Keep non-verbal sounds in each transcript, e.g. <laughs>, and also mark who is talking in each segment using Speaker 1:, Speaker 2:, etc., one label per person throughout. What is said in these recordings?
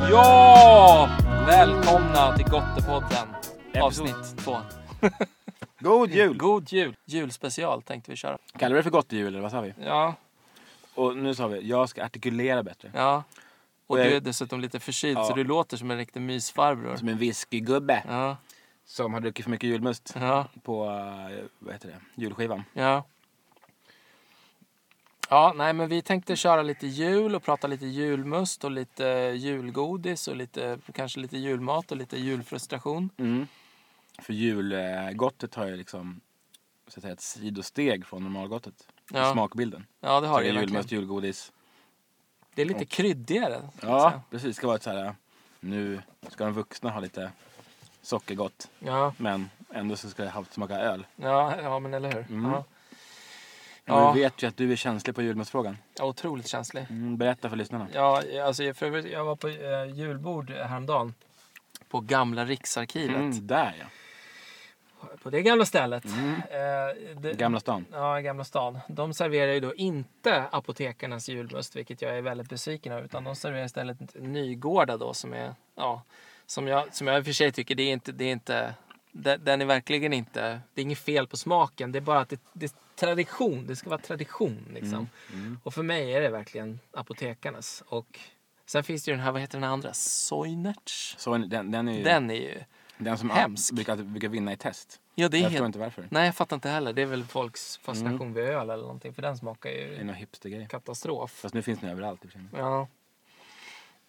Speaker 1: Ja! Välkomna till Gottepodden. Avsnitt två.
Speaker 2: God jul!
Speaker 1: God jul! Julspecial tänkte vi köra.
Speaker 2: Kallar vi det för gott jul eller vad sa vi?
Speaker 1: Ja,
Speaker 2: Och nu sa vi, jag ska artikulera bättre.
Speaker 1: ja. Och
Speaker 2: Och jag-
Speaker 1: du är dessutom lite förkyld
Speaker 2: Ja.
Speaker 1: så du låter som en riktig mysfarbror.
Speaker 2: Som en whiskygubbe
Speaker 1: Ja,
Speaker 2: Mm. som har druckit för mycket julmust
Speaker 1: ja,
Speaker 2: på, eh, vad heter det, julskivan.
Speaker 1: ja. Ja, nej men vi tänkte köra lite jul och prata lite julmust och lite julgodis och lite, kanske lite julmat och lite julfrustration.
Speaker 2: Mm. För julgottet har ju liksom, så att säga, ett sidosteg från normalgottet. I
Speaker 1: Ja.
Speaker 2: smakbilden.
Speaker 1: Ja, det
Speaker 2: Så
Speaker 1: har
Speaker 2: det
Speaker 1: det
Speaker 2: är
Speaker 1: ju
Speaker 2: julmust,
Speaker 1: verkligen.
Speaker 2: julgodis.
Speaker 1: Det är lite kryddigare. så att
Speaker 2: Ja,
Speaker 1: säga.
Speaker 2: precis. Ska vara ett så här, nu ska de vuxna ha lite sockergott.
Speaker 1: Ja,
Speaker 2: Men ändå så ska det halvt smaka öl.
Speaker 1: ja, ja men eller hur.
Speaker 2: Mm.
Speaker 1: Ja.
Speaker 2: Ja.
Speaker 1: Ja.
Speaker 2: Vi vet ju att du är känslig på julmustfrågan.
Speaker 1: Ja, Otroligt känslig.
Speaker 2: Mm, berätta för lyssnarna.
Speaker 1: Ja, alltså, jag- för övrigt, jag var på eh, julbord häromdagen. På gamla Riksarkivet.
Speaker 2: Mm, där ja.
Speaker 1: På det gamla stället.
Speaker 2: Mm.
Speaker 1: Eh, det,
Speaker 2: Gamla stan.
Speaker 1: Ja, i Gamla stan. De serverar ju då inte apotekarnas julmust, vilket jag är väldigt besviken över. Utan de serverar istället Nygårda då som är, ja, som jag, som jag i och för sig tycker, det är inte, det är inte, de- den är verkligen inte, det är inget fel på smaken. Det är bara att det, det är tradition, det ska vara tradition liksom.
Speaker 2: Mm,
Speaker 1: Och för mig är det verkligen apotekarnas. Och sen finns det ju den här, vad heter den andra? Soinerts?
Speaker 2: Så en- den, den är ju den,
Speaker 1: Den är ju,
Speaker 2: som
Speaker 1: hemsk.
Speaker 2: all- brukar, brukar vinna i test.
Speaker 1: ja det är
Speaker 2: jag förstår
Speaker 1: helt,
Speaker 2: inte Mm. varför.
Speaker 1: nej jag fattar inte heller. Det är väl folks fascination vid öl eller någonting, för den smakar ju
Speaker 2: Det är någon hipstergrej.
Speaker 1: katastrof.
Speaker 2: Fast nu finns den överallt. i och för sig.
Speaker 1: Ja,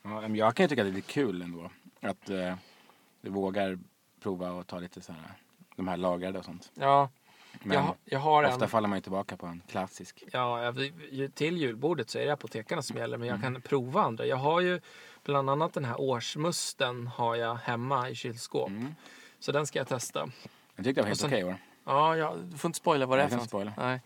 Speaker 2: Ja, men jag kan ju tycka att det är lite kul ändå. Att eh, du vågar prova och ta lite så här, de här lagrade och sånt.
Speaker 1: ja.
Speaker 2: Men
Speaker 1: jag, jag har en.
Speaker 2: ofta faller man ju tillbaka på en klassisk.
Speaker 1: Ja, jag- vi- ju- till julbordet så är det apotekarna som gäller, men jag
Speaker 2: Mm.
Speaker 1: kan prova andra. Jag har ju bland annat den här årsmusten har jag hemma i kylskåp.
Speaker 2: Mm.
Speaker 1: Så den ska jag testa.
Speaker 2: Jag tyckte det var helt
Speaker 1: Och sen-
Speaker 2: okej i år.
Speaker 1: Ja, jag, du får inte spoila vad det
Speaker 2: Jag
Speaker 1: är för
Speaker 2: kan
Speaker 1: något.
Speaker 2: spoila.
Speaker 1: Nej.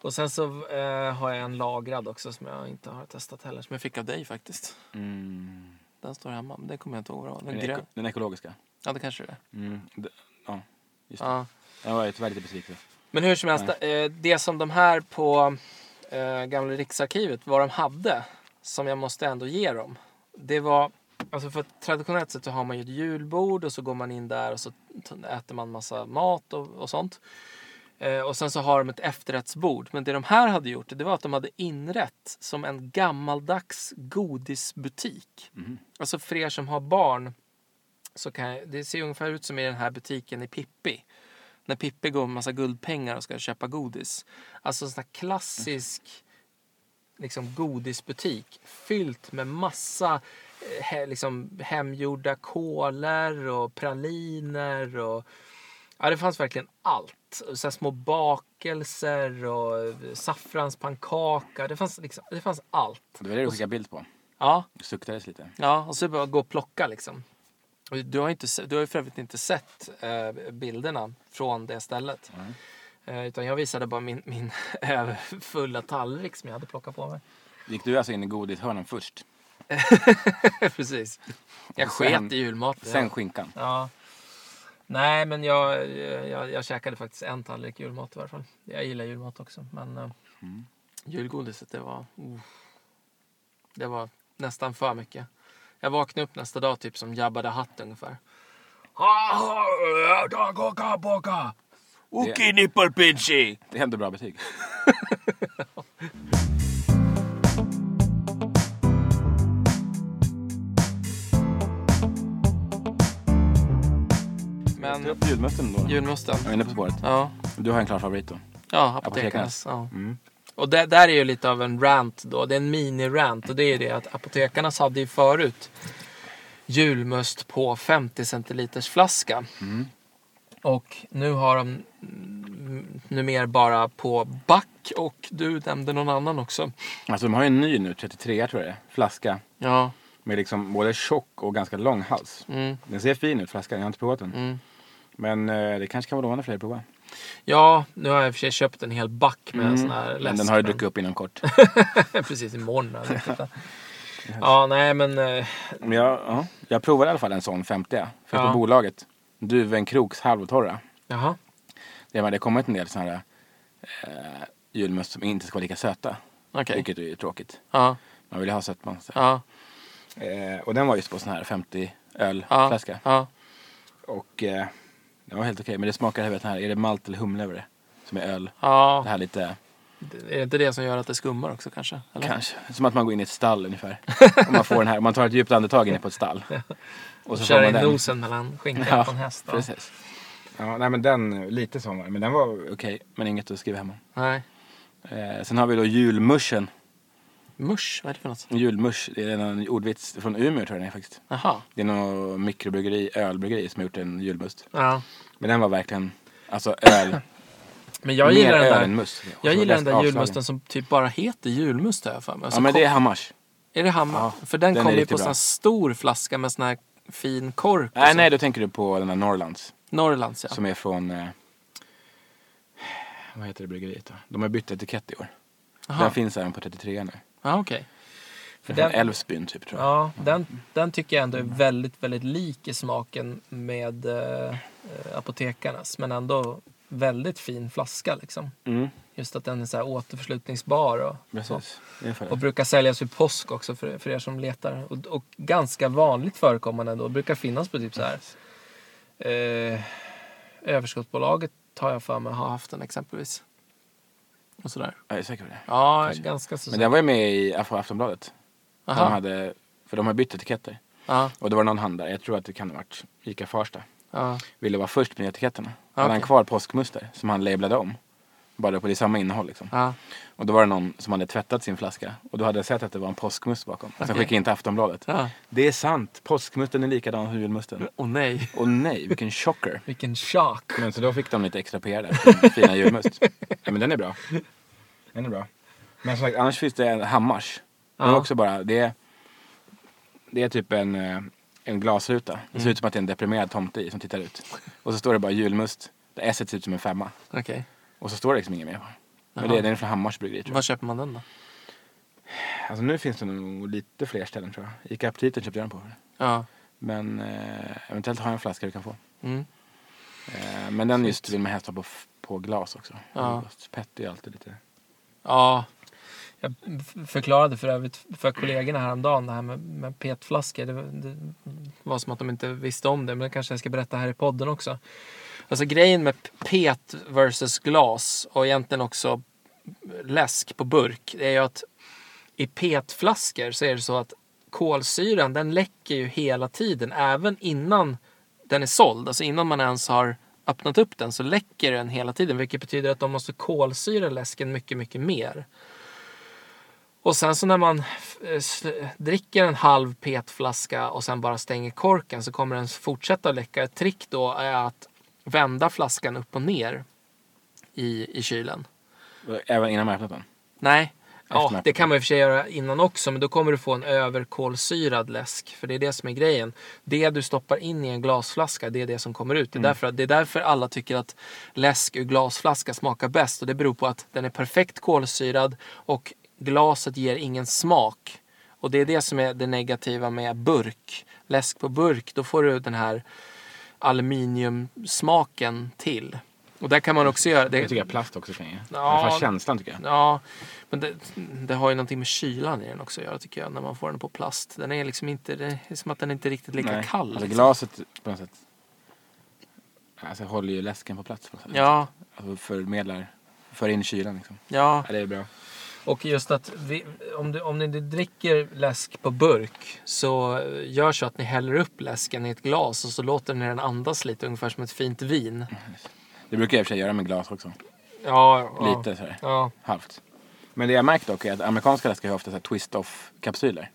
Speaker 1: Och sen så eh, har jag en lagrad också som jag inte har testat heller, som jag fick av dig faktiskt.
Speaker 2: Mm.
Speaker 1: Den står hemma, men det kommer jag inte ihåg. vad det var. Den
Speaker 2: Den,
Speaker 1: grön.
Speaker 2: eko, den ekologiska.
Speaker 1: Ja, det kanske det är.
Speaker 2: Mm. d- Ja, just det.
Speaker 1: Ja.
Speaker 2: Jag var ju tyvärr lite besviken.
Speaker 1: Men hur som helst, eh, det som de här på eh, gamla Riksarkivet, vad de hade, som jag måste ändå ge dem. Det var, alltså för att traditionellt sett så har man ju ett julbord och så går man in där och så t- äter man massa mat och, och sånt. Eh, och sen så har de ett efterrättsbord. Men det de här hade gjort, det var att de hade inrett som en gammaldags godisbutik.
Speaker 2: Mm.
Speaker 1: Alltså för er som har barn, så kan, jag- det ser ungefär ut som i den här butiken i Pippi. När Pippi går med massa guldpengar och ska köpa godis. Alltså en sån här klassisk liksom, godisbutik fyllt med massa eh, he, liksom, hemgjorda kolor och praliner och Ja, det fanns verkligen allt. Så här små bakelser och eh, saffranspannkaka. Det fanns, liksom, det fanns allt.
Speaker 2: Det var det du skickade bild på.
Speaker 1: Ja,
Speaker 2: Du suktades lite.
Speaker 1: Ja, och så bara gå och plocka liksom. Och Du har, inte, se- du har ju för övrigt inte sett eh, bilderna från det stället. Eh, utan jag visade bara min, min <laughs> eh, fulla tallrik som jag hade plockat
Speaker 2: <laughs>
Speaker 1: på mig.
Speaker 2: Gick du alltså in i godishörnan först?
Speaker 1: Precis. Jag
Speaker 2: Sen-
Speaker 1: sket i julmaten.
Speaker 2: Sen skinkan?
Speaker 1: Ja. Nej, men jag, jag, jag käkade faktiskt en tallrik julmat i varje fall. Jag gillar julmat också, men eh, julgodiset det var... Uh, det var nästan för mycket. Jag vaknade upp nästa dag typ som Jabba the Hutt ungefär.
Speaker 2: Okej,
Speaker 1: nippelpinchi!
Speaker 2: Det är ändå bra betyg. Men
Speaker 1: Men
Speaker 2: upp julmusten då.
Speaker 1: julmusten.
Speaker 2: Jag är inne på spåret.
Speaker 1: Ja,
Speaker 2: Du har en klar favorit då.
Speaker 1: ja apotekarnas.
Speaker 2: Apotekarnas.
Speaker 1: Ja.
Speaker 2: Mm.
Speaker 1: Och det, där är ju lite av en rant då. Det är en mini-rant. Och det är det att apotekarnas hade ju förut julmust på 50 centiliters flaska.
Speaker 2: Mm.
Speaker 1: Och nu har de mm, numera bara på back. Och du nämnde någon annan också.
Speaker 2: Alltså de har ju en ny nu, 33 tror jag det är. Flaska.
Speaker 1: Ja,
Speaker 2: Med liksom både tjock och ganska lång hals.
Speaker 1: mm,
Speaker 2: Den ser fin ut flaskan, jag har inte provat den.
Speaker 1: mm.
Speaker 2: Men eh, det kanske kan vara lovande för dig att prova.
Speaker 1: ja nu har jag i och för sig köpt en hel back med en sån här läsk.
Speaker 2: Mm. Men den har ju druckit upp
Speaker 1: <laughs>
Speaker 2: inom kort.
Speaker 1: Precis, imorgon. har jag druckit
Speaker 2: <laughs>
Speaker 1: den. ja, nej men. eh,
Speaker 2: Men jag, ja, jag provade i alla fall en sån 50. Finns
Speaker 1: Ja.
Speaker 2: på bolaget. Duvenkroks halvtorra.
Speaker 1: Jaha.
Speaker 2: Det har det har kommit en del såna här eh, julmust som inte ska vara lika söta.
Speaker 1: Okej.
Speaker 2: Vilket är ju tråkigt.
Speaker 1: Ja,
Speaker 2: Man vill ju ha sötma.
Speaker 1: ja.
Speaker 2: Eh, och den var just på sån här 50
Speaker 1: Ja.
Speaker 2: ölflaska.
Speaker 1: Ja.
Speaker 2: Och eh, den var helt okej. Men det smakar, jag vet den här, är det malt eller humle över det? Som är öl. Det
Speaker 1: ja.
Speaker 2: här lite,
Speaker 1: Är det inte det som gör att det skummar också kanske? Eller?
Speaker 2: kanske, som att man går in i ett stall ungefär. Om man får den här, om man tar ett djupt andetag inne på
Speaker 1: <laughs>
Speaker 2: ett stall. Och
Speaker 1: Kör in nosen mellan skinkan
Speaker 2: <laughs> Ja,
Speaker 1: på en häst. Ja.
Speaker 2: Precis. Ja, nej men den, lite sån var det. Men den var okej, men inget att skriva hem om.
Speaker 1: Nej.
Speaker 2: Eh, sen har vi då julmuschen.
Speaker 1: Mush, vad är det för något?
Speaker 2: Julmusch, det är en ordvits från Umeå tror jag den är faktiskt.
Speaker 1: Jaha.
Speaker 2: Det är något mikrobryggeri, ölbryggeri som har gjort en julmust.
Speaker 1: Ja.
Speaker 2: Men den var verkligen, alltså öl.
Speaker 1: Men <laughs> jag gillar
Speaker 2: mer
Speaker 1: den
Speaker 2: öl
Speaker 1: där.
Speaker 2: än must. Alltså, Och så
Speaker 1: Jag gillar den
Speaker 2: mest
Speaker 1: där
Speaker 2: avslagen.
Speaker 1: julmusten som typ bara heter julmust har jag för mig. Alltså,
Speaker 2: ja men
Speaker 1: kom-
Speaker 2: det är Hammars.
Speaker 1: är det Hammar?
Speaker 2: Ja,
Speaker 1: för den,
Speaker 2: den är
Speaker 1: kommer ju
Speaker 2: riktigt
Speaker 1: på sån här
Speaker 2: bra.
Speaker 1: stor flaska med sån här fin kork. och
Speaker 2: Nej
Speaker 1: så.
Speaker 2: nej, då tänker du på den här Norrlands.
Speaker 1: Norrlands Alltså- ja.
Speaker 2: Som är från, eh, vad heter det bryggeriet då? De har bytt etikett i år.
Speaker 1: Aha.
Speaker 2: Den finns även på 33 nu.
Speaker 1: Ja, okej.
Speaker 2: För
Speaker 1: den-
Speaker 2: Från Älvsbyn typ tror jag.
Speaker 1: Ja, den, den tycker jag ändå är väldigt, väldigt lik i smaken med eh, eh, apotekarnas. Men ändå väldigt fin flaska liksom.
Speaker 2: Mm,
Speaker 1: Just att den är så här återförslutningsbar och,
Speaker 2: precis. Ungefär det.
Speaker 1: och brukar säljas vid påsk också för, för er som letar. Och, och ganska vanligt förekommande ändå. Brukar finnas på typ så här. Eh, överskottsbolaget har jag för mig har haft den exempelvis. Och sådär.
Speaker 2: Jag är säker på det.
Speaker 1: Ja,
Speaker 2: Kanske.
Speaker 1: ganska så.
Speaker 2: Men den var ju med i Afro- Aftonbladet.
Speaker 1: Aha.
Speaker 2: De hade, för de har bytt etiketter.
Speaker 1: ja,
Speaker 2: Och det var någon handlare, jag tror att det kan ha varit Ica Farsta.
Speaker 1: ja.
Speaker 2: Ville vara först med etiketterna.
Speaker 1: Ja,
Speaker 2: Hade
Speaker 1: Ah,
Speaker 2: han
Speaker 1: okej.
Speaker 2: kvar påskmuster som han lablade om. Bara på det samma innehåll liksom.
Speaker 1: Ja,
Speaker 2: Och då var det någon som hade tvättat sin flaska. Och då hade jag sett att det var en påskmust bakom. Och
Speaker 1: Okej.
Speaker 2: sen skickade in till Aftonbladet.
Speaker 1: ja.
Speaker 2: Det är sant, påskmusten är likadan som julmusten.
Speaker 1: Åh nej,
Speaker 2: Och nej, vilken chocker.
Speaker 1: vilken chock.
Speaker 2: Men så då fick de lite extra PR där, för den fina julmust. Ja, men den är bra. Den är bra. Men som sagt, annars finns det en Hammars. Den
Speaker 1: Ja.
Speaker 2: är också bara, det är, det är typ en, eh, en glasruta. Det
Speaker 1: Mm.
Speaker 2: ser ut som att det är en deprimerad tomte i som tittar ut. Och så står det bara julmust. Där S ser ut som en femma.
Speaker 1: Okej.
Speaker 2: Och så står det liksom inget mer. Men
Speaker 1: Jaha.
Speaker 2: det, den är från Hammars bryggeri tror jag.
Speaker 1: Var köper man den då?
Speaker 2: Alltså nu finns det nog lite fler ställen tror jag. Ica Aptiten köpte jag den på.
Speaker 1: Ja.
Speaker 2: Men eh, eventuellt har jag en flaska du kan få.
Speaker 1: Mm.
Speaker 2: Eh, men den just vill man helst ha på, f- på glas också.
Speaker 1: Ja.
Speaker 2: Pet är alltid lite...
Speaker 1: ja. Jag f- förklarade för övrigt för kollegorna häromdagen det här med, med petflaskor. Det, var- det var som att de inte visste om det, men det kanske jag ska berätta här i podden också. Alltså grejen med pet versus glas och egentligen också läsk på burk, det är ju att i petflaskor så är det så att kolsyran den läcker ju hela tiden, även innan den är såld. Alltså innan man ens har öppnat upp den så läcker den hela tiden, vilket betyder att de måste kolsyra läsken mycket, mycket mer. Och sen så när man eh, sl- dricker en halv petflaska och sen bara stänger korken så kommer den fortsätta att läcka. Ett trick då är att vända flaskan upp och ner i, i kylen.
Speaker 2: Även innan man öppnat den?
Speaker 1: Nej. Ja,
Speaker 2: Eftermäppning.
Speaker 1: det kan man i och för sig göra innan också, men då kommer du få en överkolsyrad läsk. För det är det som är grejen. Det du stoppar in i en glasflaska, det är det som kommer ut. Det är, därför, det är därför alla tycker att läsk ur glasflaska smakar bäst. Och det beror på att den är perfekt kolsyrad och glaset ger ingen smak. Och det är det som är det negativa med burk. Läsk på burk, då får du den här aluminiumsmaken till. Och där kan man också göra...
Speaker 2: Det
Speaker 1: det-
Speaker 2: tycker jag plast också kan ge. I
Speaker 1: Ja.
Speaker 2: alla fall känslan tycker jag.
Speaker 1: Ja, men det, det har ju någonting med kylan i den också att göra tycker jag. När man får den på plast. Den är liksom inte, det är som att den inte är riktigt lika
Speaker 2: Nej,
Speaker 1: kall.
Speaker 2: Alltså
Speaker 1: liksom.
Speaker 2: glaset på något sätt. Alltså håller ju läsken på plats på något sätt.
Speaker 1: Ja,
Speaker 2: Alltså förmedlar, för in kylan liksom.
Speaker 1: ja.
Speaker 2: Ja, det är bra.
Speaker 1: Och just att vi, om, du, om ni dricker läsk på burk så gör så att ni häller upp läsken i ett glas och så låter ni den andas lite ungefär som ett fint vin.
Speaker 2: Det brukar jag i och för sig göra med glas också.
Speaker 1: Ja, ja.
Speaker 2: Lite sådär,
Speaker 1: Ja,
Speaker 2: halvt. Men det jag märkt dock är att amerikanska läskar har ofta så här twist-off-kapsyler.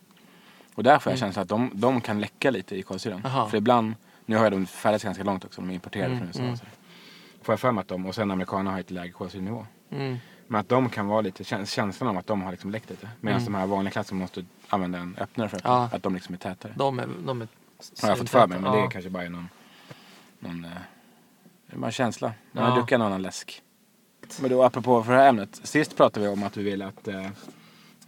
Speaker 2: Och där får jag känslan att de, de kan läcka lite i kolsyran.
Speaker 1: Mm. Aha.
Speaker 2: För ibland, nu har jag de färdats ganska långt också, de är importerade
Speaker 1: Mm,
Speaker 2: från USA.
Speaker 1: mm.
Speaker 2: Så här. Får jag för mig att de, och sen amerikanerna har ett lägre kolsyrenivå.
Speaker 1: mm.
Speaker 2: Men att de kan vara lite, käns- känslan av att de har liksom läckt lite. Medan de här vanliga klasserna måste använda en öppnare för att,
Speaker 1: Mm. Ja.
Speaker 2: att de liksom är tätare.
Speaker 1: de är... De är
Speaker 2: har jag fått för mig, men det
Speaker 1: Ja.
Speaker 2: är kanske bara någon, någon eh, det är bara en känsla. När
Speaker 1: Ja.
Speaker 2: man druckit någon annan läsk. Men då apropå för det här ämnet. Sist pratade vi om att vi ville att, eh,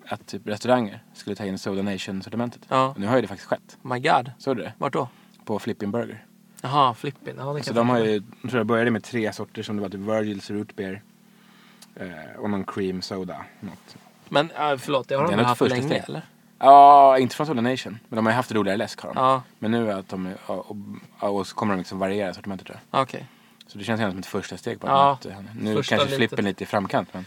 Speaker 2: att typ restauranger skulle ta in Soda Nation-sortimentet.
Speaker 1: Ja.
Speaker 2: Och Nu har ju det faktiskt skett.
Speaker 1: My God.
Speaker 2: Såg du det?
Speaker 1: Vart då?
Speaker 2: På Flippin Burger.
Speaker 1: Jaha, Flippin. Ja, det kan
Speaker 2: Så
Speaker 1: jag
Speaker 2: de har
Speaker 1: tänka mig.
Speaker 2: ju, jag tror jag började med tre sorter som det var typ Virgils Root Beer eh, och någon Cream Soda. Något.
Speaker 1: Men äh, förlåt, det har
Speaker 2: Det
Speaker 1: de väl
Speaker 2: är något
Speaker 1: haft
Speaker 2: första
Speaker 1: länge
Speaker 2: steg.
Speaker 1: eller?
Speaker 2: Ja, inte från Soda Nation. Men de har ju haft roligare läsk har de.
Speaker 1: Ja,
Speaker 2: Men nu är att de, ja, och, ja, och så kommer de liksom variera sortimentet tror jag.
Speaker 1: okej.
Speaker 2: Så det känns ändå som ett första steg på
Speaker 1: Ja.
Speaker 2: att möta henne. Nu
Speaker 1: Första
Speaker 2: kanske flippen
Speaker 1: litet.
Speaker 2: lite i framkant men.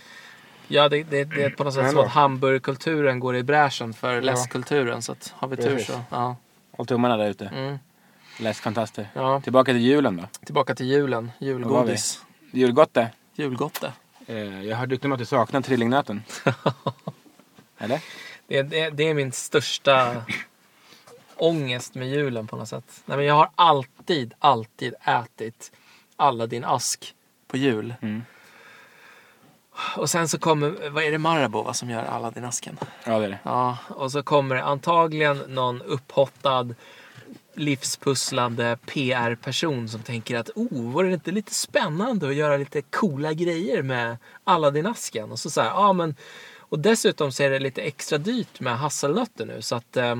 Speaker 1: Ja, det, det, det är på något sätt
Speaker 2: Men
Speaker 1: så att
Speaker 2: ändå.
Speaker 1: hamburgerkulturen går i bräschen för läskkulturen. Så att, har vi tur
Speaker 2: Precis.
Speaker 1: så. Ja.
Speaker 2: Håll tummarna där ute.
Speaker 1: Mm.
Speaker 2: Läskfantaster.
Speaker 1: ja.
Speaker 2: Tillbaka till julen då.
Speaker 1: Tillbaka till julen. Julgodis.
Speaker 2: Julgotte.
Speaker 1: Julgotte.
Speaker 2: Eh, jag har rykten om att du
Speaker 1: <laughs>
Speaker 2: saknar trillingnöten. Eller?
Speaker 1: Det, det, det är min största ångest med julen på något sätt. Nej, men jag har alltid, alltid ätit alla din ask på jul.
Speaker 2: Mm.
Speaker 1: Och sen så kommer, vad är det Marabou va, som gör alla din asken?
Speaker 2: Ja det är det.
Speaker 1: Ja, och så kommer det antagligen någon upphottad livspusslande PR-person som tänker att oh, vore det inte lite spännande att göra lite coola grejer med Aladdin-asken? Och så så här, ja men och dessutom så är det lite extra dyrt med hasselnötter nu så att eh,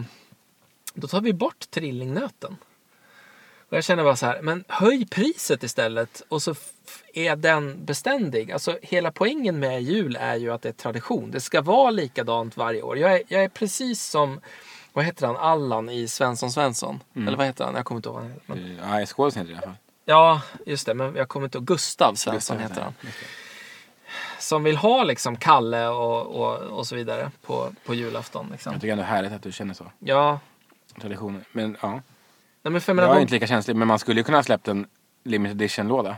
Speaker 1: då tar vi bort trillingnöten. Och jag känner bara så här, men höj priset istället och så f- är den beständig. Alltså hela poängen med jul är ju att det är tradition. Det ska vara likadant varje år. Jag är, jag är precis som, vad heter han, Allan i Svensson Svensson?
Speaker 2: Mm.
Speaker 1: Eller vad heter han? Jag kommer inte ihåg vad han heter. Men...
Speaker 2: Eh, Ja, i Skålsen heter det i alla fall.
Speaker 1: Ja, just det. Men jag kommer inte ihåg. Gustav Svensson heter han. Som vill ha liksom Kalle och, och, och så vidare på, på julafton. Liksom.
Speaker 2: Jag tycker ändå det är härligt att du känner så.
Speaker 1: Ja.
Speaker 2: Traditioner. Men ja.
Speaker 1: Nej, men för jag
Speaker 2: Jag
Speaker 1: menar,
Speaker 2: är
Speaker 1: vad-
Speaker 2: inte lika känslig men man skulle ju kunna ha släppt en limited edition-låda.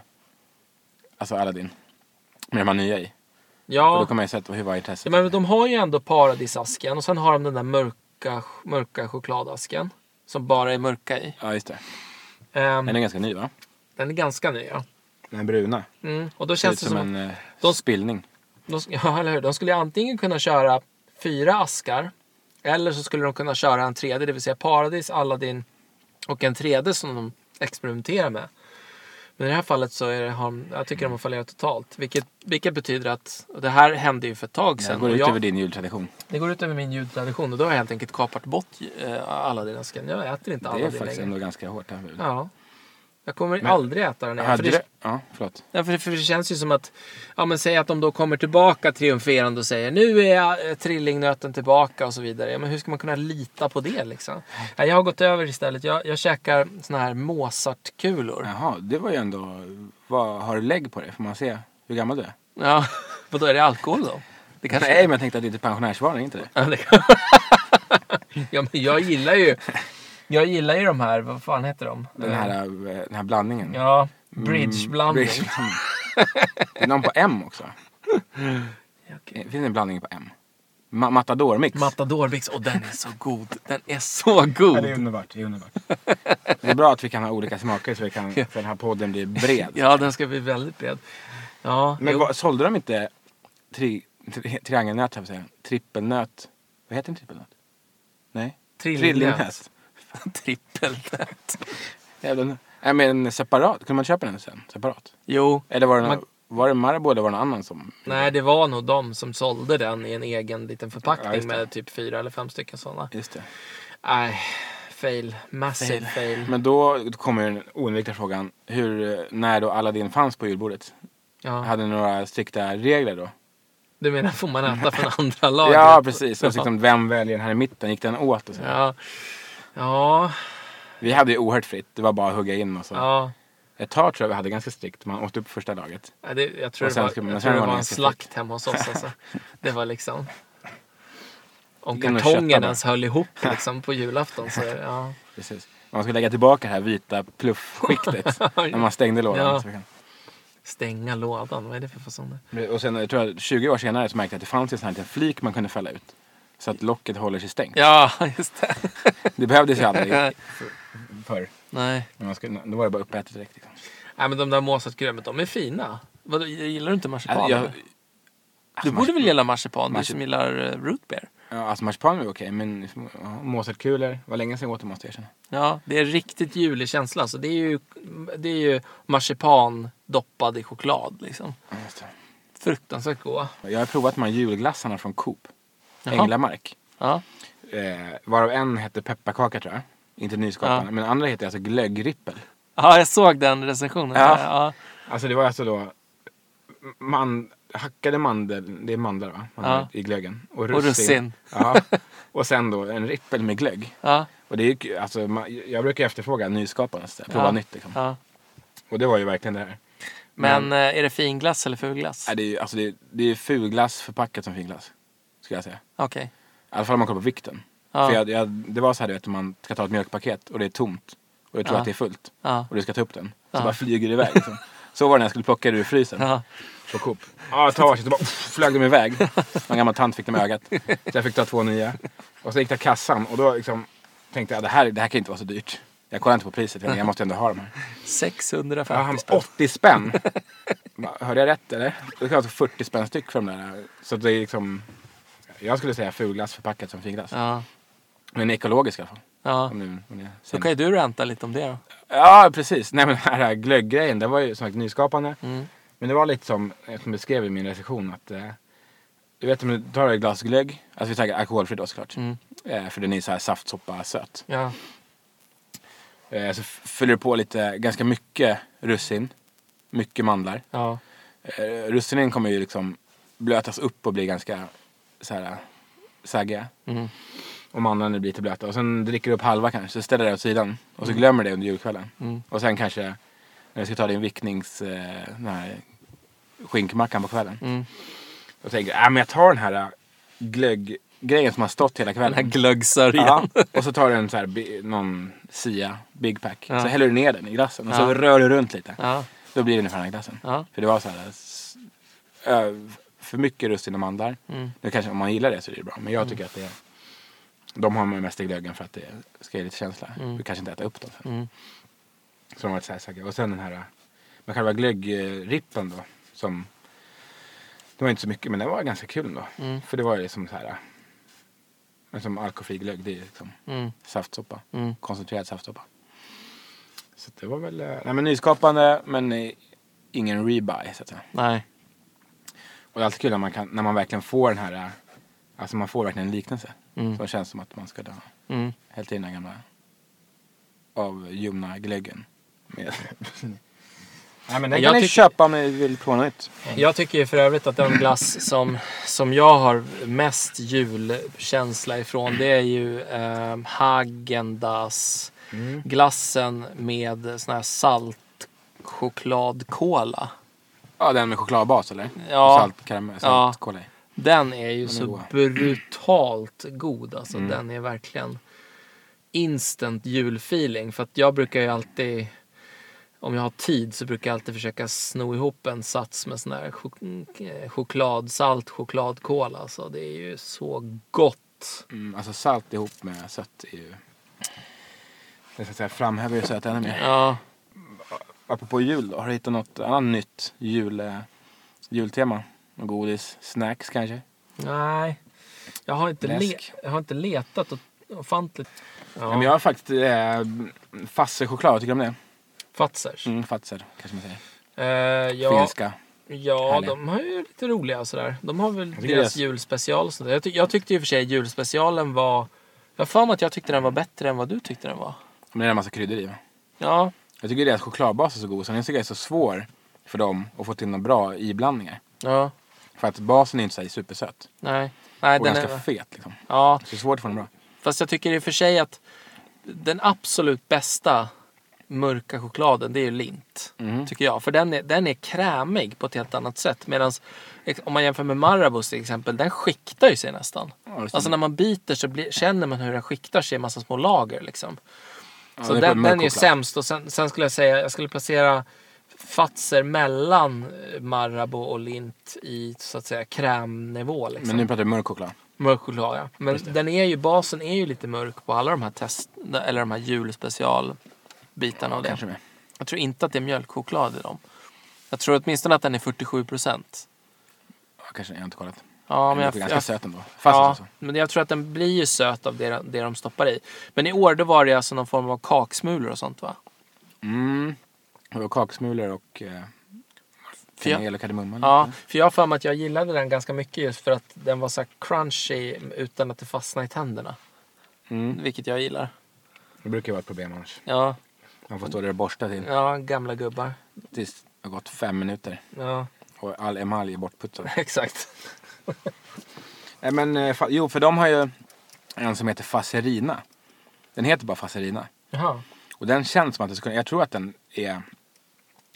Speaker 2: Alltså Aladdin. Med de här nya i. Och då
Speaker 1: ja,
Speaker 2: kan man ju sett hur var intresset.
Speaker 1: ja, men de har ju ändå paradisasken och sen har de den där mörka, mörka chokladasken. Som bara är mörka i.
Speaker 2: Ja just det.
Speaker 1: Ehm,
Speaker 2: Den är ganska ny va?
Speaker 1: den är ganska ny ja.
Speaker 2: Den bruna.
Speaker 1: Mm. Och då
Speaker 2: Ser ut
Speaker 1: känns det
Speaker 2: som,
Speaker 1: som att
Speaker 2: en eh,
Speaker 1: de-
Speaker 2: spillning.
Speaker 1: De, sk- <laughs> ja, eller hur? De skulle ju antingen kunna köra fyra askar eller så skulle de kunna köra en tredje, det vill säga Paradis, Aladdin och en tredje som de experimenterar med. Men i det här fallet så är det, har de- jag tycker de har fallerat totalt. Vilket, vilket betyder att, och det här hände ju för ett tag
Speaker 2: Det
Speaker 1: sedan.
Speaker 2: går
Speaker 1: och
Speaker 2: ut
Speaker 1: jag,
Speaker 2: över din jultradition.
Speaker 1: det går ut över min ljudtradition och då har jag helt enkelt kapat bort eh, Aladdin-asken. Jag äter inte
Speaker 2: Det är
Speaker 1: Aladdin
Speaker 2: faktiskt
Speaker 1: längre.
Speaker 2: ändå ganska hårt. Här. Ja,
Speaker 1: Ja. Jag kommer
Speaker 2: Men-
Speaker 1: aldrig äta den igen.
Speaker 2: Hade
Speaker 1: För
Speaker 2: du...
Speaker 1: det,
Speaker 2: ja, förlåt.
Speaker 1: Ja, för, det, för det känns ju som att, ja men säg att de då kommer tillbaka triumferande och säger nu är jag, eh, trillingnöten tillbaka och så vidare. Ja, men hur ska man kunna lita på det liksom? Ja, jag har gått över istället. Jag, jag käkar såna här Mozartkulor.
Speaker 2: Jaha, det var ju ändå... Vad, har du lägg på det? Får man se hur gammal du är?
Speaker 1: Ja, <laughs> och då är det alkohol då? Det kanske
Speaker 2: Nej, men jag tänkte att det är till pensionärsvarning, inte det?
Speaker 1: Ja, det kan... <laughs> ja, men jag gillar ju, jag gillar ju de här, vad fan heter de?
Speaker 2: Den här, eh, den här blandningen.
Speaker 1: Ja,
Speaker 2: Mm,
Speaker 1: bridgeblandning.
Speaker 2: bridgeblandning. det är någon på M också.
Speaker 1: Ja, okej.
Speaker 2: Det finns en blandning på M. Ma- Matador-mix.
Speaker 1: Matadormix, och den är så god. Den är så
Speaker 2: Ja, det är
Speaker 1: god.
Speaker 2: underbart. Det är, underbart. <laughs> det är bra att vi kan ha olika smaker så, vi kan, så den här podden blir bred.
Speaker 1: Ja, den ska bli väldigt bred. Ja,
Speaker 2: Men <laughs>
Speaker 1: jo.
Speaker 2: vad, sålde de inte tri, tri, triangelnöt, höll jag på att säga. Trippelnöt. Vad heter en trippelnöt? Nej?
Speaker 1: Trillingnät. Trippelnät.
Speaker 2: Jävlar. Nej men separat, kunde man köpa den sen? Separat?
Speaker 1: Jo,
Speaker 2: Eller var det,
Speaker 1: Man-
Speaker 2: man... var det Marabou eller var det någon annan som...
Speaker 1: nej det var nog de som sålde den i en egen liten
Speaker 2: Ja,
Speaker 1: förpackning
Speaker 2: just det.
Speaker 1: med typ fyra eller fem stycken sådana.
Speaker 2: Just det.
Speaker 1: Nej, fail. Massive fail.
Speaker 2: Men då kommer den oundvikliga frågan. Hur, eh, när då Aladdin fanns på julbordet?
Speaker 1: Ja.
Speaker 2: Hade ni några strikta regler då?
Speaker 1: Du menar får man äta från andra laget?
Speaker 2: Ja precis. Och så liksom, vem väljer den här i mitten? Gick den åt? Och så.
Speaker 1: Ja. Ja.
Speaker 2: Vi hade ju oerhört fritt. Det var bara att hugga in och så.
Speaker 1: ja.
Speaker 2: Ett tag tror jag vi hade ganska strikt. Man åt upp första laget.
Speaker 1: Ja, Det, jag tror
Speaker 2: Och
Speaker 1: det
Speaker 2: sen
Speaker 1: var,
Speaker 2: ska man-
Speaker 1: jag
Speaker 2: sen
Speaker 1: tror det
Speaker 2: var
Speaker 1: var en
Speaker 2: det ganska
Speaker 1: slakt hemma hos oss. Alltså. Det var liksom... Om
Speaker 2: Det är nog
Speaker 1: kartongen
Speaker 2: köttar
Speaker 1: ens höll
Speaker 2: <laughs>
Speaker 1: ihop liksom, på julafton så... Ja.
Speaker 2: Precis. Man skulle lägga tillbaka det här vita
Speaker 1: <laughs>
Speaker 2: pluffskiktet när man stängde lådan.
Speaker 1: Ja.
Speaker 2: Så vi kan-
Speaker 1: Stänga lådan, vad är det för fasoner?
Speaker 2: Och sen jag tror jag 20 år senare så märkte jag att det fanns en sån här liten flik man kunde fälla ut. Så att locket håller sig stängt. <laughs>
Speaker 1: Ja, just det.
Speaker 2: Det behövdes
Speaker 1: <laughs>
Speaker 2: ju aldrig förr.
Speaker 1: Nej.
Speaker 2: Men man skulle, då var det bara uppätet direkt. Liksom.
Speaker 1: Nej men de där Mozartgrömmet, de är fina. Vadå, gillar du inte marsipan?
Speaker 2: Alltså, jag, alltså,
Speaker 1: eller? du borde väl gilla marsipan, du
Speaker 2: marsi-
Speaker 1: som gillar uh, root beer.
Speaker 2: ja, alltså marsipan var ju okej, men ja, Mozartkulor. Var länge sedan jag åt det måste jag erkänna.
Speaker 1: Ja, det är riktigt julig känsla. Alltså, det, är ju, det är ju marsipan doppad i choklad liksom.
Speaker 2: Ja, just det.
Speaker 1: Fruktansvärt goda.
Speaker 2: Jag har provat de här julglassarna från Coop.
Speaker 1: Jaha.
Speaker 2: Änglamark.
Speaker 1: Ja.
Speaker 2: Eh, varav en hette pepparkaka tror jag. Inte nyskapande.
Speaker 1: Ja.
Speaker 2: Men den andra hette alltså glöggrippel.
Speaker 1: ja, jag såg den recensionen.
Speaker 2: Ja.
Speaker 1: Ja.
Speaker 2: Alltså det var alltså då man, hackade mandel, det är mandlar va? Mandlar I glöggen.
Speaker 1: Och russin. <laughs>
Speaker 2: Ja. Och sen då en rippel med glögg.
Speaker 1: Ja,
Speaker 2: Och det är ju, k- alltså, man, jag brukar efterfråga nyskapande, så där, prova
Speaker 1: Ja.
Speaker 2: nytt liksom.
Speaker 1: ja.
Speaker 2: Och det var ju verkligen det här.
Speaker 1: Men eh, är det finglass eller fulglass?
Speaker 2: Nej, det är ju alltså, det är, det är fulglass förpackat som finglass. Skulle jag säga.
Speaker 1: Okej.
Speaker 2: I alla fall om man kollar på vikten.
Speaker 1: Ja.
Speaker 2: För jag, jag, det var så här du vet, om man ska ta ett mjölkpaket och det är tomt. Och du tror
Speaker 1: Ja.
Speaker 2: att det är fullt.
Speaker 1: Ja.
Speaker 2: Och du ska ta upp den. Så
Speaker 1: Ja.
Speaker 2: bara flyger det
Speaker 1: <laughs>
Speaker 2: iväg. Liksom. Så var det när jag skulle plocka det ur frysen.
Speaker 1: Ja.
Speaker 2: På Coop. Ja, ett tag så bara pff, flög de iväg. Någon gammal tant fick dem i ögat. Så jag fick ta två nya. Och så gick jag till kassan och då liksom, tänkte jag det här, det här kan ju inte vara så dyrt. Jag kollade inte på priset, jag tänkte, jag måste ändå ha de här. Ja,
Speaker 1: 650
Speaker 2: han,
Speaker 1: spänn.
Speaker 2: 80 spänn! Bara, Hörde jag rätt eller? Det kan alltså 40 spänn styck för de där. Så det är liksom... Jag skulle säga fulglass förpackat som finglass.
Speaker 1: Ja.
Speaker 2: Men ekologisk i alla fall.
Speaker 1: Ja.
Speaker 2: Om nu, om jag
Speaker 1: Då
Speaker 2: säger
Speaker 1: kan ju du ränta lite om det då.
Speaker 2: Ja, precis. Nej, men den här glögggrejen, det var ju som sagt nyskapande.
Speaker 1: Mm.
Speaker 2: Men det var lite som, eh, som jag beskrev i min recension, att eh, du vet om du tar ett glas glögg, alltså vi tänker alkoholfri då såklart,
Speaker 1: Mm.
Speaker 2: eh, för den är så här saftsoppa söt.
Speaker 1: Ja.
Speaker 2: Eh, så f- fyller du på lite, ganska mycket russin, mycket mandlar.
Speaker 1: Ja.
Speaker 2: Eh, russinen kommer ju liksom blötas upp och bli ganska så här eh, saggiga.
Speaker 1: Mm.
Speaker 2: Och mandlarna blir lite blöta. Och sen dricker du upp halva kanske, så ställer du det åt sidan. Och så glömmer du det under julkvällen.
Speaker 1: Mm.
Speaker 2: Och sen kanske, när du ska ta din vicknings, eh, den här skinkmackan på kvällen.
Speaker 1: Mm.
Speaker 2: Och tänker, äh, men jag tar den här äh, glögggrejen som har stått hela
Speaker 1: Den här
Speaker 2: kvällen.
Speaker 1: glöggsörjan.
Speaker 2: <laughs> Ja,
Speaker 1: <laughs>
Speaker 2: och så tar du en så här, bi- någon Sia Big Pack.
Speaker 1: Ja.
Speaker 2: Så häller du ner den i glassen och så
Speaker 1: Ja.
Speaker 2: rör du runt lite.
Speaker 1: Ja.
Speaker 2: Då blir det ungefär den här glassen.
Speaker 1: Ja.
Speaker 2: För det var så här, s- ö- för mycket russin och mandlar.
Speaker 1: Mm.
Speaker 2: Nu kanske om man gillar det så är det bra. Men jag tycker att det är, de har man mest i glöggen för att det ska ge lite känsla.
Speaker 1: Mm.
Speaker 2: Du kanske inte äter upp dem sen.
Speaker 1: Mm.
Speaker 2: Så de var så här säkra. Och sen den här, men själva glöggrippen då. Som, det var inte så mycket men det var ganska kul ändå.
Speaker 1: Mm.
Speaker 2: För det var ju liksom så här, men som alkoholfri glögg, det är ju liksom
Speaker 1: Mm.
Speaker 2: saftsoppa.
Speaker 1: Mm.
Speaker 2: Koncentrerad saftsoppa. Så det var väl, eh, nej men nyskapande men eh, ingen rebuy så att säga.
Speaker 1: Nej.
Speaker 2: Och det är alltid kul när man, kan, när man verkligen får den här, eh, alltså man får verkligen en liknelse.
Speaker 1: Mm.
Speaker 2: Som känns som att man ska ha
Speaker 1: Mm.
Speaker 2: hällt i den här gamla avljumna glöggen. Med <laughs> Nej men den
Speaker 1: Jag
Speaker 2: kan ni
Speaker 1: tycker-
Speaker 2: köpa om ni vill prova nytt.
Speaker 1: Jag tycker ju för övrigt att den glass som, som jag har mest julkänsla ifrån det är ju eh, Häagen-Dazs
Speaker 2: Mm.
Speaker 1: glassen med sån här saltchokladkola.
Speaker 2: Ja den med chokladbas eller?
Speaker 1: Ja.
Speaker 2: Salt, karamell, salt, kola i.
Speaker 1: Den är ju
Speaker 2: är
Speaker 1: så
Speaker 2: god. Mm.
Speaker 1: brutalt god. Alltså, Den är verkligen instant julfeeling. För att jag brukar ju alltid, om jag har tid, så brukar jag alltid försöka sno ihop en sats med sån här chok- eh, chokladsalt chokladkola. Alltså, det är ju så gott.
Speaker 2: Mm, alltså salt ihop med sött är ju... Det så att säga framhäver ju sött ännu mer.
Speaker 1: Ja,
Speaker 2: Apropå jul då, har du hittat något annat nytt jul, eh, jultema? Någon Godis, snacks kanske?
Speaker 1: nej. Jag har inte, le-
Speaker 2: Läsk.
Speaker 1: jag har inte letat och ofantligt.
Speaker 2: Ja.
Speaker 1: Ja,
Speaker 2: Men jag har faktiskt eh, fassechoklad, vad tycker du om det?
Speaker 1: Fatzers.
Speaker 2: Mm, fatser kanske man säger.
Speaker 1: Eh, ja,
Speaker 2: Finska.
Speaker 1: Ja,
Speaker 2: Härliga.
Speaker 1: de har ju lite roliga och sådär. De har väl
Speaker 2: tycker
Speaker 1: deras
Speaker 2: det är-
Speaker 1: julspecial och sådär. Jag, tyck- jag tyckte ju för sig julspecialen var... Jag har för mig att jag tyckte den var bättre än vad du tyckte den var.
Speaker 2: Men det är en massa kryddor i va?
Speaker 1: Ja,
Speaker 2: Jag tycker deras chokladbas är så god, sen tycker jag det är så svår för dem att få till några bra iblandningar.
Speaker 1: ja,
Speaker 2: För att basen är inte så här supersöt.
Speaker 1: nej. Nej,
Speaker 2: Och
Speaker 1: den
Speaker 2: ganska
Speaker 1: är...
Speaker 2: fet liksom.
Speaker 1: Ja,
Speaker 2: Så det är svårt att få den bra.
Speaker 1: fast jag tycker i och för sig att den absolut bästa mörka chokladen, det är ju lint.
Speaker 2: Mm.
Speaker 1: Tycker jag. För den är, den är krämig på ett helt annat sätt. Medan om man jämför med Marabous till exempel, den skiktar ju sig nästan.
Speaker 2: Ja, det
Speaker 1: Alltså
Speaker 2: stämmer.
Speaker 1: när man biter så blir, känner man hur den skiktar sig i massa små lager liksom.
Speaker 2: Ja,
Speaker 1: Så
Speaker 2: det
Speaker 1: den,
Speaker 2: mörk
Speaker 1: den är ju
Speaker 2: choklad.
Speaker 1: sämst. Och sen, sen skulle jag säga, jag skulle placera Fatser mellan eh, Marabou och Lint i så att säga krämnivå. Liksom.
Speaker 2: Men nu pratar vi mörk choklad.
Speaker 1: Mörk choklad ja. Men den är ju, basen är ju lite mörk på alla de här test, eller de här julspecialbitarna av det.
Speaker 2: Kanske med.
Speaker 1: Jag tror inte att det är mjölkchoklad i dem. Jag tror åtminstone att den är 47 procent.
Speaker 2: Ja, kanske, jag har inte kollat.
Speaker 1: Ja,
Speaker 2: Den
Speaker 1: men
Speaker 2: är
Speaker 1: jag,
Speaker 2: ganska
Speaker 1: jag,
Speaker 2: söt ändå. Fast
Speaker 1: ja,
Speaker 2: alltså.
Speaker 1: men jag tror att den blir ju söt av det, de- det de stoppar i. Men i år då var det alltså någon form av kaksmulor och sånt va?
Speaker 2: Mm. Det var kaksmulor och eh,
Speaker 1: För jag-
Speaker 2: kanel och kardemumma. eller
Speaker 1: Ja,
Speaker 2: något.
Speaker 1: för jag har för mig att jag gillade den ganska mycket just för att den var så här crunchy utan att det fastnade i tänderna.
Speaker 2: Mm.
Speaker 1: Vilket jag gillar.
Speaker 2: Det brukar ju vara ett problem annars.
Speaker 1: Ja,
Speaker 2: Man får stå där och borsta till,
Speaker 1: ja gamla gubbar.
Speaker 2: tills det har gått fem minuter.
Speaker 1: Ja, <laughs>
Speaker 2: Och all emalj är bortputtad.
Speaker 1: Exakt.
Speaker 2: Nej, men, eh, fa- jo, för de har ju en som heter Faserina. Den heter bara Faserina.
Speaker 1: Jaha.
Speaker 2: Och den känns som att det skulle, jag tror att den är,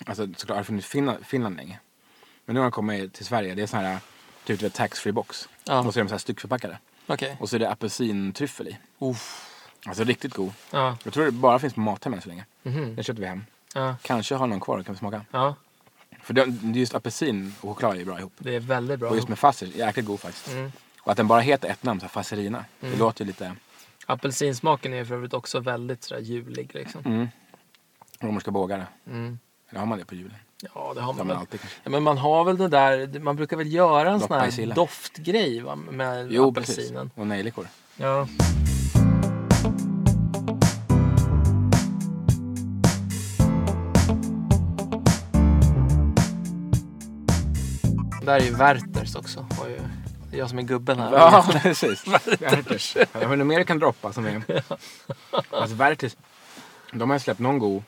Speaker 2: alltså såklart har funnits i Finland, Finland länge. Men nu har den kommit till Sverige, det är sån här, typ vet, taxfree box.
Speaker 1: Ja.
Speaker 2: Och så är de så här styckförpackade.
Speaker 1: Okej.
Speaker 2: Och så är det apelsintryffel i.
Speaker 1: Uff.
Speaker 2: Alltså riktigt god.
Speaker 1: Ja.
Speaker 2: Jag tror det bara finns på Mathem än så länge.
Speaker 1: Mhm.
Speaker 2: Den köpte vi hem.
Speaker 1: ja.
Speaker 2: Kanske har någon kvar, kan vi smaka.
Speaker 1: Ja.
Speaker 2: För den, just apelsin och choklad är bra ihop.
Speaker 1: Det är väldigt bra.
Speaker 2: Och just med faser, jäkligt god faktiskt.
Speaker 1: Mm.
Speaker 2: Och att den bara heter ett namn, så här, Faserina. Det
Speaker 1: Mm.
Speaker 2: låter ju lite
Speaker 1: Apelsinsmaken är för övrigt också väldigt sådär julig liksom.
Speaker 2: mm, romerska bågare.
Speaker 1: Mm.
Speaker 2: Eller har man det på julen?
Speaker 1: Ja, det har
Speaker 2: Det har
Speaker 1: man
Speaker 2: man
Speaker 1: väl.
Speaker 2: alltid kanske.
Speaker 1: Ja, men man har väl det där, man brukar väl göra en
Speaker 2: Droppa
Speaker 1: sån
Speaker 2: i
Speaker 1: här
Speaker 2: sillen.
Speaker 1: doftgrej va, med
Speaker 2: Jo, precis.
Speaker 1: apelsinen.
Speaker 2: Och nejlikor.
Speaker 1: Ja. Där är ju Werthers också. Har ju, det är jag som är gubben här.
Speaker 2: Ja,
Speaker 1: <laughs>
Speaker 2: <laughs> precis. Werthers. Ja, men mer kan droppa som är... Alltså Werthers, de har ju släppt någon god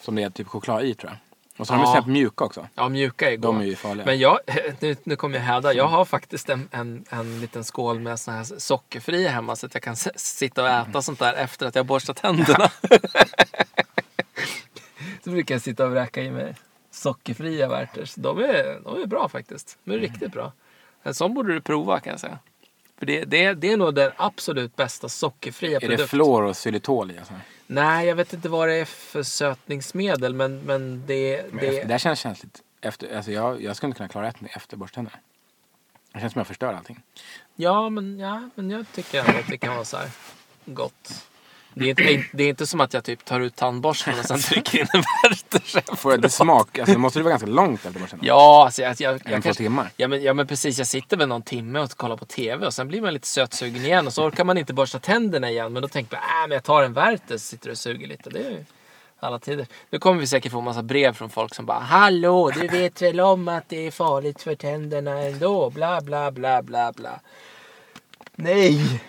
Speaker 2: som det är typ choklad i tror jag. Och så har de
Speaker 1: Ja.
Speaker 2: ju släppt mjuka också.
Speaker 1: Ja, mjuka är goda.
Speaker 2: De är ju farliga.
Speaker 1: Men jag, <laughs> nu, nu kommer jag häda. Jag har faktiskt en, en, en liten skål med såna här sockerfria hemma så att jag kan s- sitta och äta sånt där efter att jag har borstat tänderna. <laughs> så brukar jag sitta och vräka i mig sockerfria Werthers. De är, de är bra faktiskt. De är riktigt bra. Mm. En sån borde du prova kan jag säga. För det, det, det är nog den absolut bästa sockerfria
Speaker 2: är
Speaker 1: produkten.
Speaker 2: det fluor och xylitol i? Alltså?
Speaker 1: Nej, jag vet inte vad det är för sötningsmedel men, men det...
Speaker 2: Men
Speaker 1: det...
Speaker 2: efter, det här känns känsligt. Efter, alltså jag, jag skulle inte kunna klara ett efter borsttänderna. Det känns som jag förstör
Speaker 1: <laughs>
Speaker 2: allting.
Speaker 1: Ja, men, ja, men jag tycker ändå att det kan vara så här gott. Det är inte, det är inte som att jag typ tar ut tandborsten och sen trycker in en Werthers.
Speaker 2: Får jag det smak? Alltså, måste det vara ganska långt efter borsttänderna?
Speaker 1: Ja, alltså jag, jag,
Speaker 2: En,
Speaker 1: jag
Speaker 2: två
Speaker 1: kanske,
Speaker 2: timmar?
Speaker 1: ja, men, ja, men precis. Jag sitter väl någon timme och kollar på TV och sen blir man lite sötsugen igen och så orkar man inte borsta tänderna igen. Men då tänker man, äh, men jag tar en Werthers sitter och suger lite. Det är ju alla tider. Nu kommer vi säkert få massa brev från folk som bara, hallå, du vet väl om att det är farligt för tänderna ändå, bla bla bla bla bla. Nej!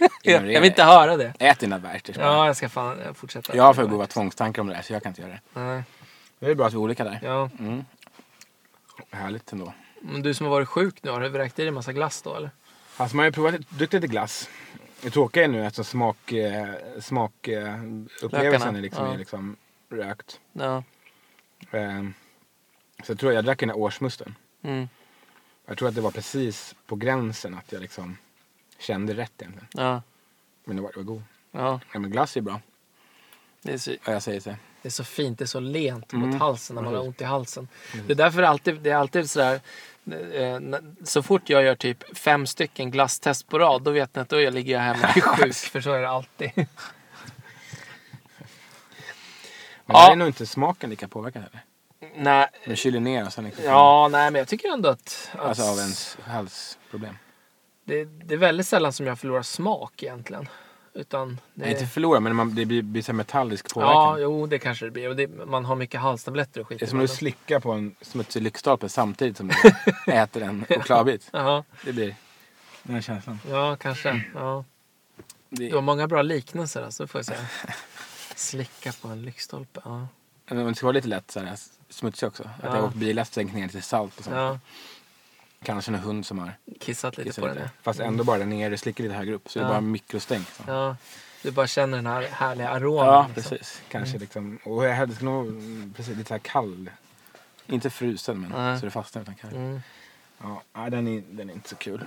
Speaker 2: Innan
Speaker 1: Jag,
Speaker 2: det-
Speaker 1: jag vill inte höra det.
Speaker 2: Ät dina Werthers. bara.
Speaker 1: Ja, jag ska fan eh, fortsätta.
Speaker 2: Jag har för goda tvångstankar om det där så jag kan inte göra det.
Speaker 1: Nej,
Speaker 2: Det är bra att vi är olika där.
Speaker 1: ja.
Speaker 2: Mm. Härligt ändå.
Speaker 1: Men du som har varit sjuk nu, har du vräkt i dig massa glass då eller?
Speaker 2: Alltså man har ju provat druckit lite glass. Det tråkiga är nu eftersom smak, eh, smak, eh, upplevelsen
Speaker 1: Lökarna,
Speaker 2: är liksom,
Speaker 1: ja.
Speaker 2: är liksom rökt.
Speaker 1: Ja.
Speaker 2: Eh, så jag tror jag drack den här årsmusten.
Speaker 1: Mm.
Speaker 2: Jag tror att det var precis på gränsen att jag liksom kände rätt egentligen.
Speaker 1: Ja.
Speaker 2: Men det var, det var god.
Speaker 1: Ja.
Speaker 2: Ja, men glass är bra.
Speaker 1: Det är så,
Speaker 2: Ja, jag säger så.
Speaker 1: det är så fint, det är så lent
Speaker 2: Mm.
Speaker 1: mot halsen när man har
Speaker 2: Precis.
Speaker 1: ont i halsen. Det är därför det alltid, det är alltid sådär, eh, när- så fort jag gör typ fem stycken glasstest på rad, då vet ni att då jag ligger jag <laughs> hemma och är sjuk, för så är det alltid.
Speaker 2: Men
Speaker 1: Ja.
Speaker 2: där är nog inte smaken lika påverkad heller.
Speaker 1: <laughs> nej,
Speaker 2: Den kyler ner och sen liksom.
Speaker 1: ja, nej, men jag tycker ändå att... att
Speaker 2: Alltså av ens halsproblem.
Speaker 1: det, det är väldigt sällan som jag förlorar smak egentligen. Utan det,
Speaker 2: Nej, inte förlora men man, det blir, blir så här metallisk påverkan.
Speaker 1: Ja, jo, det kanske det blir. Och det, man har mycket halstabletter och skit.
Speaker 2: Det är som
Speaker 1: i
Speaker 2: att du
Speaker 1: munnen.
Speaker 2: slickar på en smutsig lyktstolpe
Speaker 1: <laughs>
Speaker 2: samtidigt som du äter en chokladbit.
Speaker 1: Jaha,
Speaker 2: Det blir den här känslan.
Speaker 1: ja, kanske. Ja.
Speaker 2: Det,
Speaker 1: Du har många bra liknelser, alltså, får jag <laughs> säga. Slicka på en lyktstolpe. Ja.
Speaker 2: men det ska vara lite lätt så här, smutsig också. Att
Speaker 1: Ja.
Speaker 2: jag åkt bilar så sänkt ner lite salt och sånt.
Speaker 1: ja,
Speaker 2: Kanske en hund som har
Speaker 1: kissat lite
Speaker 2: kissat
Speaker 1: på
Speaker 2: lite.
Speaker 1: den. ja.
Speaker 2: Fast ändå bara där nere, slickar lite högre upp. Så det
Speaker 1: Ja.
Speaker 2: är bara mikrostänk. Så.
Speaker 1: Ja, du bara känner den här härliga aromen.
Speaker 2: Ja,
Speaker 1: liksom.
Speaker 2: precis. Kanske liksom. Och jag hade nog mm, precis, lite så här kall. Inte frusen men
Speaker 1: Nej.
Speaker 2: så det fastnar utan kall.
Speaker 1: Mm,
Speaker 2: Ja, nej, den, är, den är inte så kul.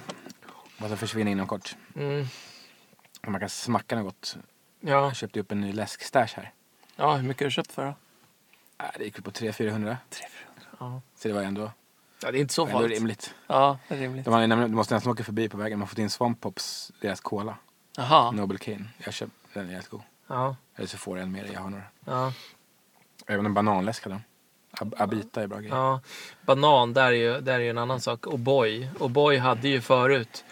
Speaker 2: Fast den försvinner inom kort.
Speaker 1: mm,
Speaker 2: Man kan smacka något.
Speaker 1: ja.
Speaker 2: Jag köpte upp en ny läskstash här.
Speaker 1: ja, hur mycket har du köpt för då?
Speaker 2: Nej, Äh, Det gick väl på 300-400.
Speaker 1: Ja.
Speaker 2: Så det var ändå,
Speaker 1: ja, det är inte så
Speaker 2: ändå
Speaker 1: farligt.
Speaker 2: rimligt.
Speaker 1: Ja, det är rimligt.
Speaker 2: De hade, nämligen- du måste nästan åka förbi på vägen. Man har fått in Swamp Pops, deras cola.
Speaker 1: Jaha.
Speaker 2: Noble Cane. Jag köpte den, är jävligt god.
Speaker 1: Ja,
Speaker 2: Eller så får jag en mer, jag har några.
Speaker 1: ja,
Speaker 2: Även en bananläsk hade de. Ab- Abita är bra grej.
Speaker 1: ja. Banan, där är ju, där är ju en annan sak. O'boy. O'boy hade ju förut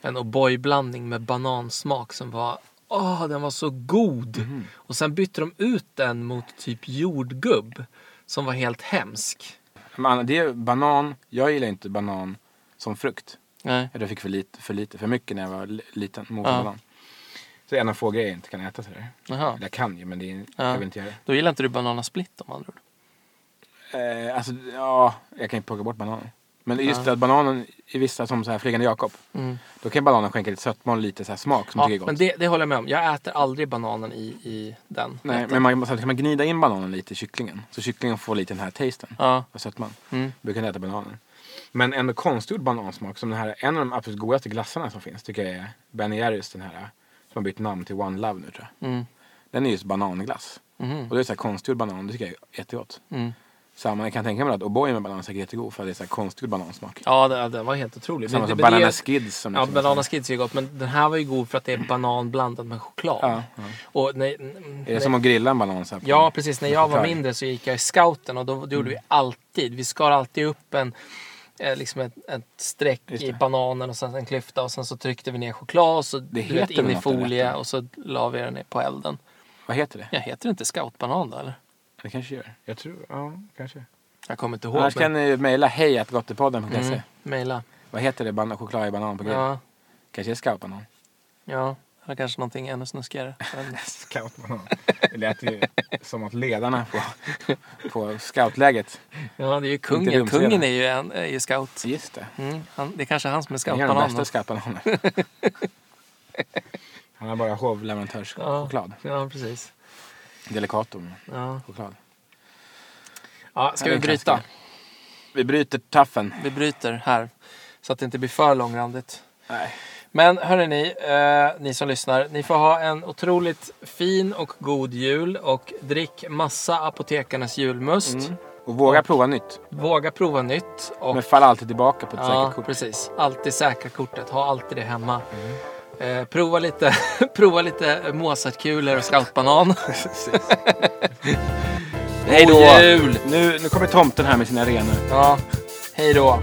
Speaker 1: en O'boy-blandning med banansmak som var... Åh, den var så god! Och sen bytte de ut den mot typ jordgubb som var helt hemsk.
Speaker 2: Men det är ju banan. Jag gillar inte banan som frukt.
Speaker 1: Nej.
Speaker 2: Jag fick för lite, för lite, för mycket när jag var li- liten. Mot
Speaker 1: Ja.
Speaker 2: banan. Så det är en av få grejer jag inte kan äta sådär.
Speaker 1: Jaha.
Speaker 2: Jag kan ju men det är,
Speaker 1: Ja.
Speaker 2: jag vill inte göra det.
Speaker 1: Då gillar inte du bananasplitt om andra ord.
Speaker 2: Eh, alltså, ja, jag kan ju plocka bort bananen. Men just det att bananen, i vissa som så här Flygande Jakob,
Speaker 1: Mm.
Speaker 2: då kan bananen skänka lite sötma och lite så här smak som
Speaker 1: Ja,
Speaker 2: tycker är gott.
Speaker 1: men det, det håller jag med om. Jag äter aldrig bananen i, i den.
Speaker 2: Nej, men man, samtidigt kan man gnida in bananen lite i kycklingen. Så kycklingen får lite den här tasten
Speaker 1: Ja.
Speaker 2: av sötman.
Speaker 1: Mm.
Speaker 2: Du kan äta bananen. Men ändå konstgjord banansmak som den här, en av de absolut godaste glassarna som finns tycker jag är Ben Jerrys den här som har bytt namn till One Love nu tror jag.
Speaker 1: Mm.
Speaker 2: Den är just bananglass.
Speaker 1: Mhm.
Speaker 2: Och det är så här konstgjord banan, det tycker jag är jättegott.
Speaker 1: Mm.
Speaker 2: Samma, jag kan tänka mig att O'boy med banan är säkert jättegod för att det är så här konstgjord banansmak.
Speaker 1: Ja, den, den var helt otrolig.
Speaker 2: Samma
Speaker 1: Men det-
Speaker 2: som
Speaker 1: men det-
Speaker 2: Banana Skids som
Speaker 1: Ja,
Speaker 2: liksom-
Speaker 1: banana skids är ju gott, men den här var ju god för att det är banan blandat med choklad.
Speaker 2: Ja, ja.
Speaker 1: Och nej,
Speaker 2: Är det som att grilla en banan så här? på-
Speaker 1: Ja, precis. När jag var
Speaker 2: choklad.
Speaker 1: mindre så gick jag i scouten och då, då gjorde vi
Speaker 2: Mm.
Speaker 1: alltid, vi skar alltid upp en, eh, liksom ett, ett streck
Speaker 2: Just
Speaker 1: i
Speaker 2: det.
Speaker 1: bananen och sen en klyfta och sen så tryckte vi ner choklad och så du vet,
Speaker 2: heter
Speaker 1: in
Speaker 2: väl
Speaker 1: i
Speaker 2: något där,
Speaker 1: folie
Speaker 2: rätt?
Speaker 1: och så la vi den ner på elden.
Speaker 2: Vad heter det?
Speaker 1: Jag heter inte scoutbanan då eller?
Speaker 2: Det kanske gör. Jag tror, ja kanske.
Speaker 1: Jag kommer inte ihåg.
Speaker 2: Annars kan
Speaker 1: men-
Speaker 2: ni mejla hej att gottepodden.se.
Speaker 1: mm, Mejla.
Speaker 2: Vad heter det? Ban- choklad i banan på grill?
Speaker 1: Ja,
Speaker 2: Kanske är scoutbanan?
Speaker 1: ja. Eller kanske någonting ännu
Speaker 2: <laughs>
Speaker 1: snuskigare. Men-
Speaker 2: Scoutbanan. Det lät ju som att ledarna på, <laughs> på scoutläget.
Speaker 1: Ja, det är ju
Speaker 2: Inte
Speaker 1: kungen.
Speaker 2: rumsrena.
Speaker 1: Kungen är ju, en, är ju scout.
Speaker 2: Just det.
Speaker 1: Mm, han, det är kanske han som är
Speaker 2: Det är den
Speaker 1: scoutbanan.
Speaker 2: bästa scoutbananen. <laughs> Han har bara hovleverantörschoklad.
Speaker 1: Ja, precis.
Speaker 2: Delicato med
Speaker 1: Ja.
Speaker 2: choklad.
Speaker 1: Ja, ska vi
Speaker 2: Ja, det är en
Speaker 1: bryta?
Speaker 2: klassiker. Vi bryter taffen.
Speaker 1: Vi bryter här. Så att det inte blir för långrandigt.
Speaker 2: Nej.
Speaker 1: Men hörrni, eh, ni som lyssnar. Ni får ha en otroligt fin och god jul. Och drick massa Apotekarnas julmust.
Speaker 2: Och våga prova nytt.
Speaker 1: Våga prova nytt. Och,
Speaker 2: Men fall alltid tillbaka på ett
Speaker 1: ja,
Speaker 2: säkert kort.
Speaker 1: precis. Alltid säkra kortet. Ha alltid det hemma. Eh, prova lite, <laughs> prova lite Mozartkulor och scoutbanan.
Speaker 2: Hej <laughs>
Speaker 1: God jul!
Speaker 2: Nu, nu kommer tomten här med sina renor.
Speaker 1: Ja, <laughs> hej då.